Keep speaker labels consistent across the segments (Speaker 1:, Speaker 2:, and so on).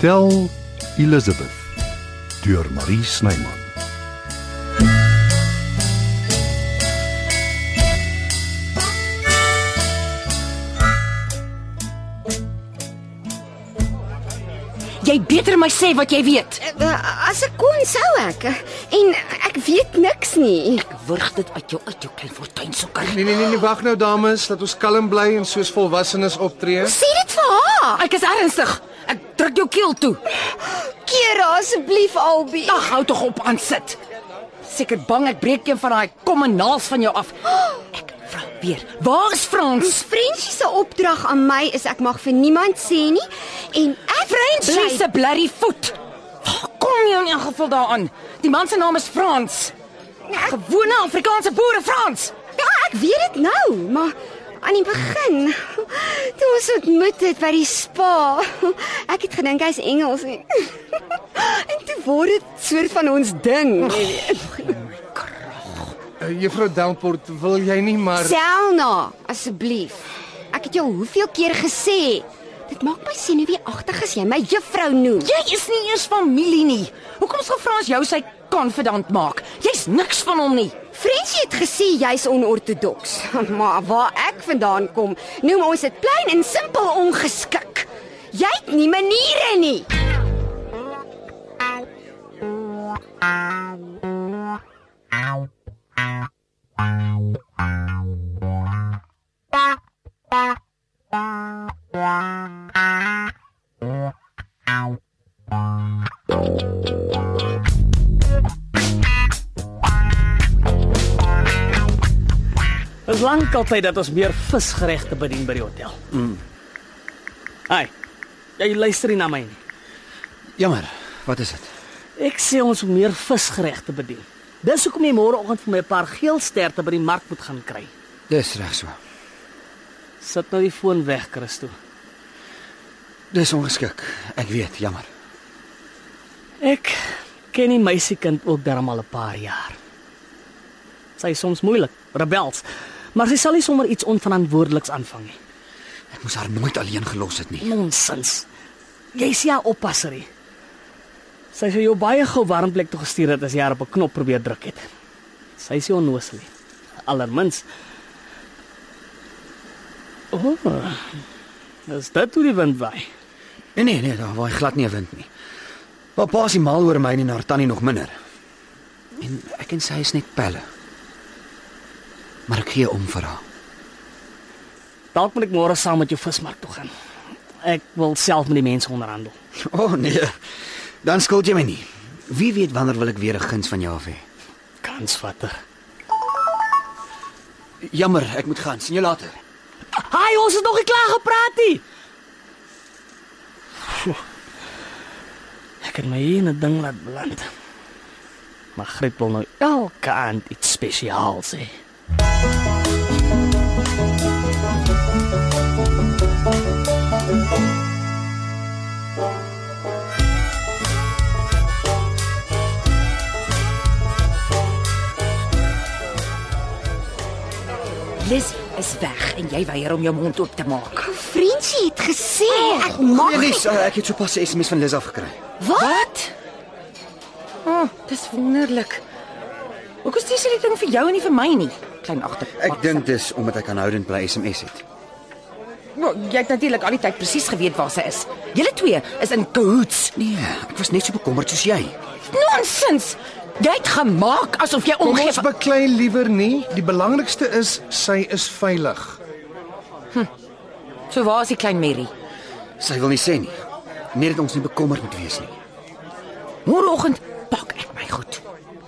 Speaker 1: Tel Elizabeth deur Marie Snyman.
Speaker 2: Jy beter my sê wat jy weet.
Speaker 3: Eh, As ek kon sou ek. En ek weet niks nie.
Speaker 2: Wurg dit uit jou uit jou klein fortuinsoeker.
Speaker 4: Nee nee nee, nee wag nou dames, laat ons kalm bly en soos volwassenes optree.
Speaker 3: Sê dit vir haar.
Speaker 2: Ek is ernstig. Ek druk jou keel toe.
Speaker 3: Keer haar asseblief Albie.
Speaker 2: Ag, hou tog op aan sit. Seker bang ek breek een van daai kom en naels van jou af. Ek vra weer. Waar is Frans?
Speaker 3: Frenchie se opdrag aan my is ek mag vir niemand sê nie en ek
Speaker 2: Frenchie se blerry voet. Waar kom jy in elk geval daaraan? Die man se naam is Frans. Gewone Afrikaanse boere Frans.
Speaker 3: Nee, Ja, ek weet dit nou, maar aan die begin toe ons ontmoet het by die spa, ek het gedink hy's Engels en en toe word dit soort van ons ding. jy weet.
Speaker 4: Uh, Juffrou Downport, wil jy nie maar
Speaker 3: Selna, asseblief. Ek het jou hoeveel keer gesê? Dit maak my sien hoe wie agtig as jy my juffrou noem.
Speaker 2: Jy is nie eers familie nie. Hoekom sou Frans jou sy konfidant maak? Jy's niks van hom nie.
Speaker 3: Frensie het gesê jy's onortodoks, maar waar ek vandaan kom, noem ons dit plain en simpel ongeskik. Jy het nie maniere nie.
Speaker 5: Dit is lank al tyd dat ons meer visgeregte bedien by die hotel. Mm. Ai. Jy luister nie na my nie.
Speaker 6: Jammer. Wat is dit?
Speaker 5: Ek sê ons moet meer visgeregte bedien. Dis hoekom jy môreoggend vir my 'n paar geelsterte by die mark moet gaan kry.
Speaker 6: Dis reg so.
Speaker 5: Sit nou die foon weg, Christo.
Speaker 6: Dis ongeskik. Ek weet, jammer.
Speaker 5: Ek ken die meisiekind ook darm al 'n paar jaar. Sy is soms moeilik, rebels, maar sy sal nie sommer iets onverantwoordeliks aanvang nie.
Speaker 6: Ek moes haar nooit alleen gelos het nie.
Speaker 5: Nonsens. Jy sien haar oppasserie. Sy sou jou baie gou warm plek toe gestuur het as jy haar op 'n knop probeer druk het. Sy is nie onnoosel nie. Allermins. O. Oh, is dit hoe die wind waai?
Speaker 6: Nee nee nee, daar waai glad nie 'n wind nie. Pappa is nie mal oor my nie, en haar tannie nog minder. En ek en sy is net pelle. Maar ek gee om vir haar.
Speaker 5: Dalk moet ek môre saam met jou vismark toe gaan. Ek wil self met die mense onderhandel.
Speaker 6: O oh, nee. Dan skuld jy my nie. Wie weet wanneer wil ek weer 'n guns van jou af hê.
Speaker 5: Kansvatter.
Speaker 6: Jammer, ek moet gaan. Sien jou later.
Speaker 5: Haai, ons het nog nie klaar gepraat nie. Pjoe. Ek het my ene ding laat beland. Maar Griet wil nou elke aand iets spesiaals hê.
Speaker 2: Liz is weg en jy weier om jou mond oop te maak. Oh,
Speaker 3: Frensie het gesê ek mag nie.
Speaker 6: Elise, Nee, eh, ek het sopas 'n SMS van Liz af gekry.
Speaker 3: Wat?
Speaker 2: O, oh, dis wonderlik. Hoekom stuur sy dit ding vir jou en nie vir my nie? Klein agter.
Speaker 6: Ek dink dis omdat ek aanhoudend bly SMS het.
Speaker 2: well, jy het natuurlik al die tyd presies geweet waar sy is. Julle twee is in cahoots.
Speaker 6: Nee, ek was net so bekommerd soos jy.
Speaker 2: Nonsens. Jy het gemaak asof jy
Speaker 4: Kom ons
Speaker 2: omgee.
Speaker 4: beklei liewer nie. Die belangrikste is sy is veilig.
Speaker 2: So waar is die klein Mary?
Speaker 6: Sy wil nie sê nie. Net dat ons nie bekommerd moet wees nie.
Speaker 2: Môreoggend pak ek my goed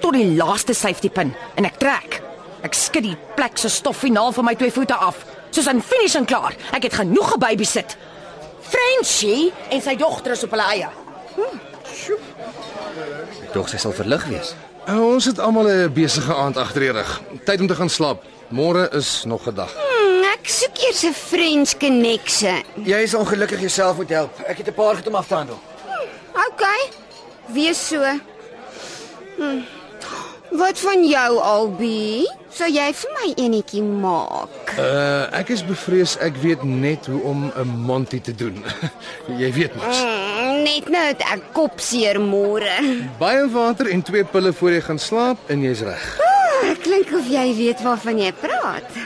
Speaker 2: tot die laaste safety pin en ek trek. Ek skud die plek se stof finaal van my twee voete af. Soos 'n finish en klaar. Ek het genoeg gebabysit. Frenchie en sy dogter is op hulle eie.
Speaker 6: Ek dog sy sal verlig wees.
Speaker 4: Uh, ons het almal 'n besige aand agter die rug. Tyd om te gaan slaap. Môre is nog 'n dag.
Speaker 3: Hmm, ek soek eers 'n French connection.
Speaker 6: Jy is ongelukkig jouself moet help. Ek het 'n paar goed om af te handel.
Speaker 3: OK. Wees so. Hmm. Wat van jou Albie? Sou jy vir my enetjie maak?
Speaker 4: Uh ek is bevrees ek weet net hoe om 'n montie te doen. jy weet mos.
Speaker 3: Hmm, net nou dat ek kopseer môre.
Speaker 4: Baie water en twee pille voor jy gaan slaap en jy's reg.
Speaker 3: Dit klink of jy weet waarvan jy praat.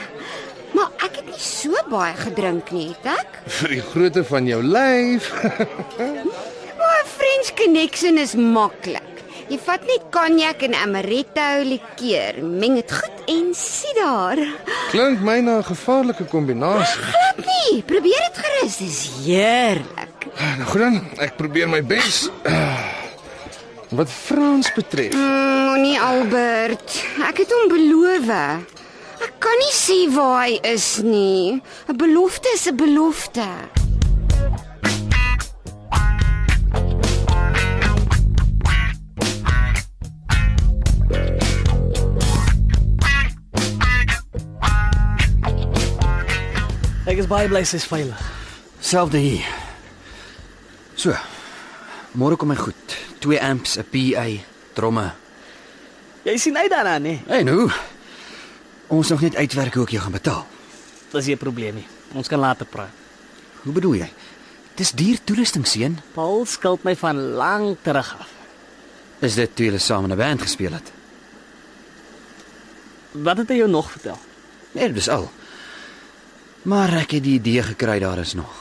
Speaker 3: Maar ek het nie so baie gedrink nie, het ek?
Speaker 4: Vir die grootte van jou lyf.
Speaker 3: Maar 'n French connection is maklik. Jy vat net cognac en amaretto likeur, meng dit goed en sien daar.
Speaker 4: Klink my na 'n gevaarlike kombinasie.
Speaker 3: Glad nie, probeer dit gerus, dis heerlik.
Speaker 4: Nou goed dan, ek probeer my bes. Wat Frans betref,
Speaker 3: Mm, Moenie Albert, ek het hom beloof. Ek kan nie sê waar hy is nie. 'n Belofte is 'n belofte.
Speaker 5: Ek is baie bly sy's veilig.
Speaker 6: Selfde hier. So. Môre kom my goed. 2 amps, 'n PA, tromme.
Speaker 5: Jy sien uit daarna nie.
Speaker 6: En hoe? Ons nog net uitwerk hoe ek jou gaan betaal.
Speaker 5: Dis nie 'n probleem nie. Ons kan later praat.
Speaker 6: Hoe bedoel jy? Dis duur toerusting seun.
Speaker 5: Paul skuld my van lank terug af.
Speaker 6: Is dit toe julle saam in 'n band gespeel het?
Speaker 5: Wat het hy jou nog vertel?
Speaker 6: Nee, dis al. Maar ek het die idee gekry daar is nog.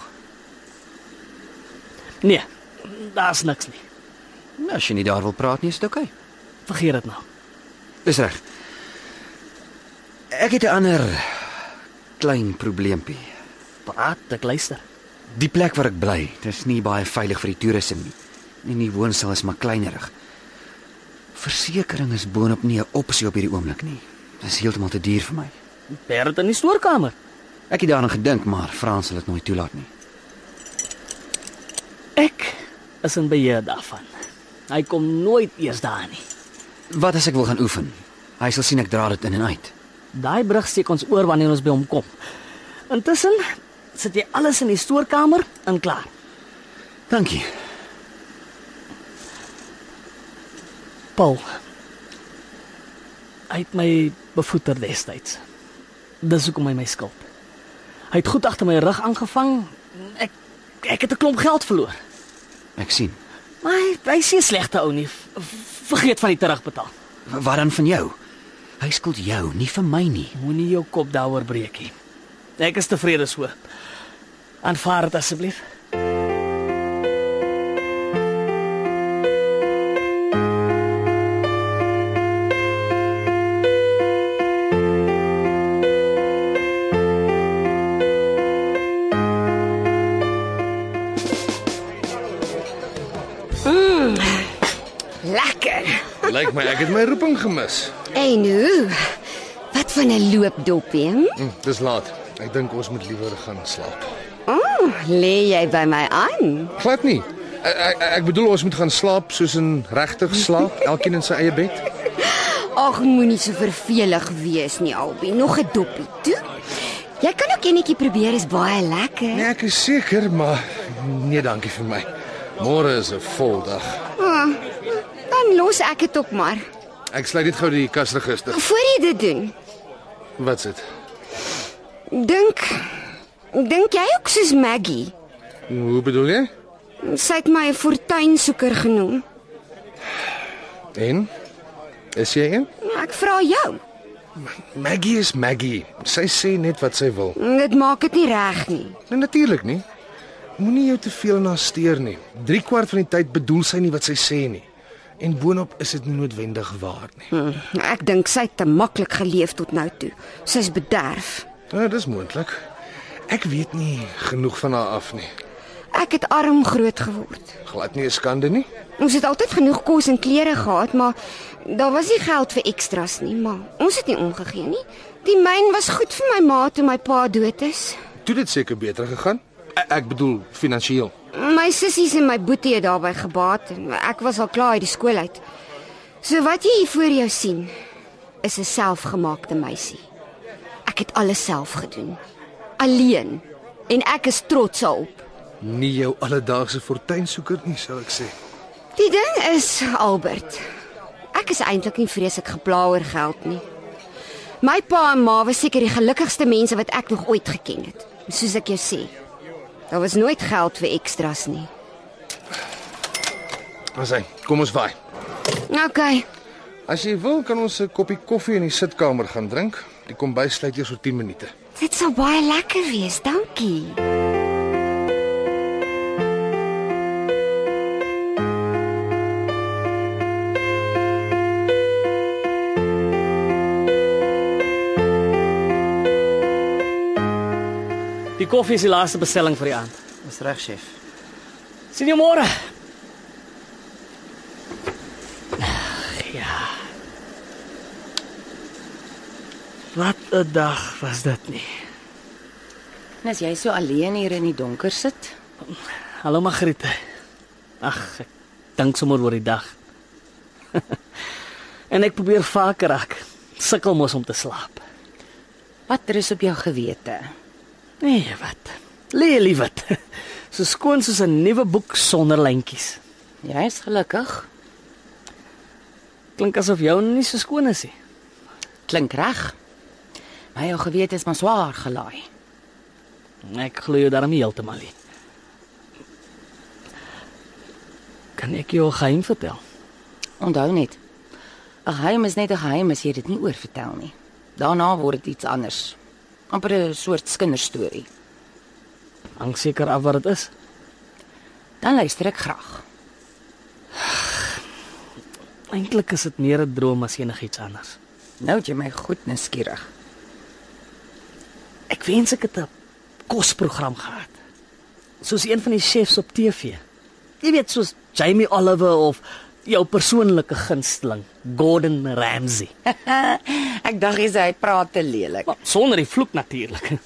Speaker 5: Nee, daar's niks nie.
Speaker 6: Nou, as jy nie daar wil praat nie, is dit oukei. Okay.
Speaker 5: Vergeet dit nou.
Speaker 6: Dis reg. Ek het 'n ander klein probleempie.
Speaker 5: Praat, ek luister.
Speaker 6: Die plek waar ek bly, dis nie baie veilig vir die toeriste nie. En die woonstel is maar kleinerig. Versekering is boonop nie 'n opsie op hierdie oomblik nie. Dit is heeltemal te duur vir my.
Speaker 5: Bert in die stoorkamer.
Speaker 6: Ek het daaraan gedink, maar Frans sal dit nooit toelaat nie.
Speaker 5: Ek is in beheer daarvan. Hy kom nooit eers daar nie.
Speaker 6: Wat as ek wil gaan oefen? Hy sal sien ek dra dit in en uit.
Speaker 5: Daai brug steek ons oor wanneer ons by hom kom. Intussen sit jy alles in die stoorkamer en klaar.
Speaker 6: Dankie.
Speaker 5: Paul. Hy het my bevoeter destyds. Dis hoekom hy my skuld. Hy het goed agter my rug aangevang. Ek ek het 'n klomp geld verloor.
Speaker 6: Ek sien.
Speaker 5: Maar hy, hy is nie 'n slegte ou nie. V- v- Vergeet van die terugbetaal.
Speaker 6: W- Wat dan van jou? Hy skuld jou, nie vir my nie.
Speaker 5: Moenie jou kop daaroor breek nie. Ek is tevrede so. Aanvaar dit asseblief.
Speaker 3: Lekker.
Speaker 4: lyk my ek het my roeping gemis.
Speaker 3: En hoe? Wat van 'n loopdopie? hm?
Speaker 4: Hm, dis laat. Ek dink ons moet liewer gaan slaap.
Speaker 3: O, oh, lê jy by my aan?
Speaker 4: Glad nie. Ek, ek, ek bedoel ons moet gaan slaap soos in regtig slaap, elkeen in sy eie bed.
Speaker 3: Ag, moenie so vervelig wees nie, Albie. Nog 'n dopie toe. Jy kan ook enetjie probeer, is baie lekker.
Speaker 4: Nee, ek is seker, maar nee, dankie vir my. Môre is 'n vol dag.
Speaker 3: Oh, dan los ek dit op maar.
Speaker 4: Ek sluit net gou die kasregister.
Speaker 3: Voor jy dit doen,
Speaker 4: Wat's dit?
Speaker 3: dink dink jy ook soos Maggie?
Speaker 4: Hoe bedoel jy?
Speaker 3: Sy het my 'n fortuinsoeker genoem.
Speaker 4: En is jy een?
Speaker 3: Ek vra jou.
Speaker 4: Maggie is Maggie. Sy sê net wat sy wil.
Speaker 3: Dit maak dit nie reg nie.
Speaker 4: Nee, natuurlik nie. Moenie jou te veel na steur nie. 3 kwart van die tyd bedoel sy nie wat sy sê nie. En boonop is dit nie noodwendig waar nie.
Speaker 3: Hm, Ek dink sy het te maklik geleef tot nou toe. Sy's bederf.
Speaker 4: Ja, dis moontlik. Ek weet nie genoeg van haar af nie.
Speaker 3: Ek het arm groot geword.
Speaker 4: Glad nie 'n skande nie.
Speaker 3: Ons het altyd genoeg kos en klere gehad, maar daar was nie geld vir ekstras nie, maar ons het nie omgegee nie. Die myn was goed vir my ma toe my pa dood is.
Speaker 4: Toe dit seker beter gegaan. E- Ek bedoel finansiëel.
Speaker 3: My sissies en my boetie het daarbey gebaat en ek was al klaar uit die skool uit. So wat jy hier voor jou sien is 'n selfgemaakte meisie. Ek het alles self gedoen. Alleen en ek is trots daarop.
Speaker 4: Nie jou alledaagse fortuinsoeker nie, sal ek sê.
Speaker 3: Die ding is, Albert, ek is eintlik nie vreeslik gepla oor geld nie. My pa en ma was seker die gelukkigste mense wat ek nog ooit geken het. Soos ek jou sê, daar was nooit geld vir ekstras nie.
Speaker 4: Ons hy, kom ons vaai.
Speaker 3: Okay.
Speaker 4: As jy wil, kan ons 'n koppie koffie in die sitkamer gaan drink. Die kombuis sluit eers oor 10 minute.
Speaker 3: Dit sou baie lekker wees. Dankie.
Speaker 5: Die koffie is die laaste bestelling vir die aand.
Speaker 6: Dis reg, chef.
Speaker 5: Sien jou môre. Ja. Wat 'n dag was dit nie.
Speaker 2: En as jy so alleen hier in die donker sit,
Speaker 5: Hallo Margriete. Ag, ek dink sommer oor die dag. en ek probeer vaker raak. Sukkel mos om te slaap.
Speaker 2: wat rus op jou gewete?
Speaker 5: Nee, wat. Lelie wat. So skoon soos 'n nuwe boek sonder lyntjies.
Speaker 2: Jy is gelukkig.
Speaker 5: Klink asof jou nie so skoon is nie.
Speaker 2: Klink reg. Maar jou gewete is maar swaar gelaai.
Speaker 5: Ek glo jou daarmee heeltemal nie. Kan ek jou 'n geheim vertel?
Speaker 2: Onthou net, 'n geheim is net 'n geheim as jy dit nie oorvertel nie. Daarna word dit iets anders. amper 'n soort kinderstorie.
Speaker 5: Hang seker af wat dit is.
Speaker 2: Dan luister ek graag.
Speaker 5: Eintlik is dit meer 'n droom as enigiets anders.
Speaker 2: Nou het jy my goed nuuskierig.
Speaker 5: Ek wens ek het 'n kosprogram gehad. Soos een van die chefs op TV. Jy weet soos Jamie Oliver of jou persoonlike gunsteling, Gordon Ramsay.
Speaker 2: Ek dink jy sê hy praat te lelik.
Speaker 5: Maar sonder die vloek natuurlik.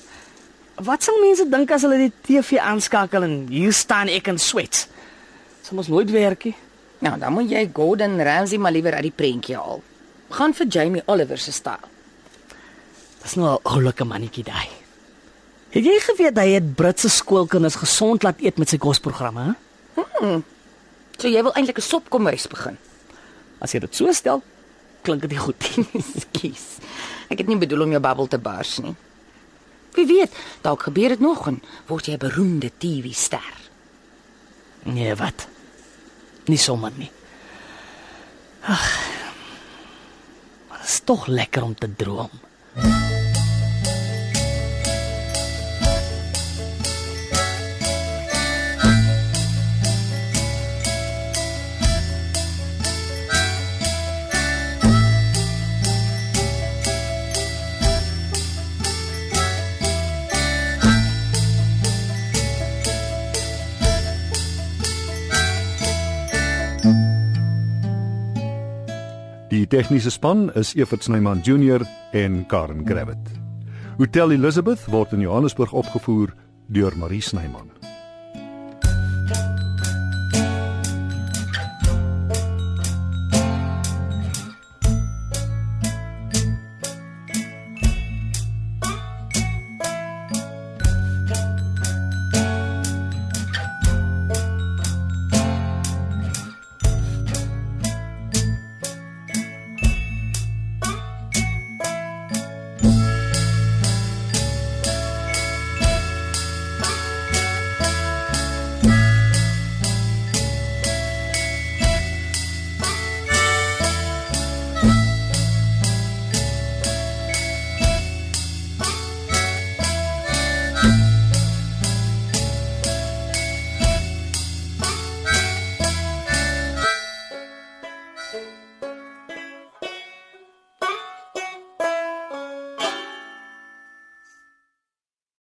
Speaker 5: Wat sal mense dink as hulle die TV aanskakel en hier staan ek en swet? Dit mos nooit werkie.
Speaker 2: Nou, dan moet jy Gordon Ramsay maar liewer uit die prentjie haal. Gaan vir Jamie Oliver se styl.
Speaker 5: Dis nou 'n oulike mannetjie daai. Het jy geweet hy het Britse skoolkinders gesond laat eet met sy kosprogramme? hè?
Speaker 2: So jy wil eintlik 'n sopkomhuis begin.
Speaker 5: As jy dit so stel, klink dit nie goed nie.
Speaker 2: Ekskuus. Ek het nie bedoel om jou bubbel te bars nie. Wie weet, dalk gebeur dit nog en word jy 'n beroemde TV-ster.
Speaker 5: Nee, wat? Nie sommer nie. Ag. Maar dit is tog lekker om te droom.
Speaker 1: Die tegniese span is Evert Snyman Junior en Karen Gravett. Hotel Elizabeth word in Johannesburg opgevoer deur Marie Snyman.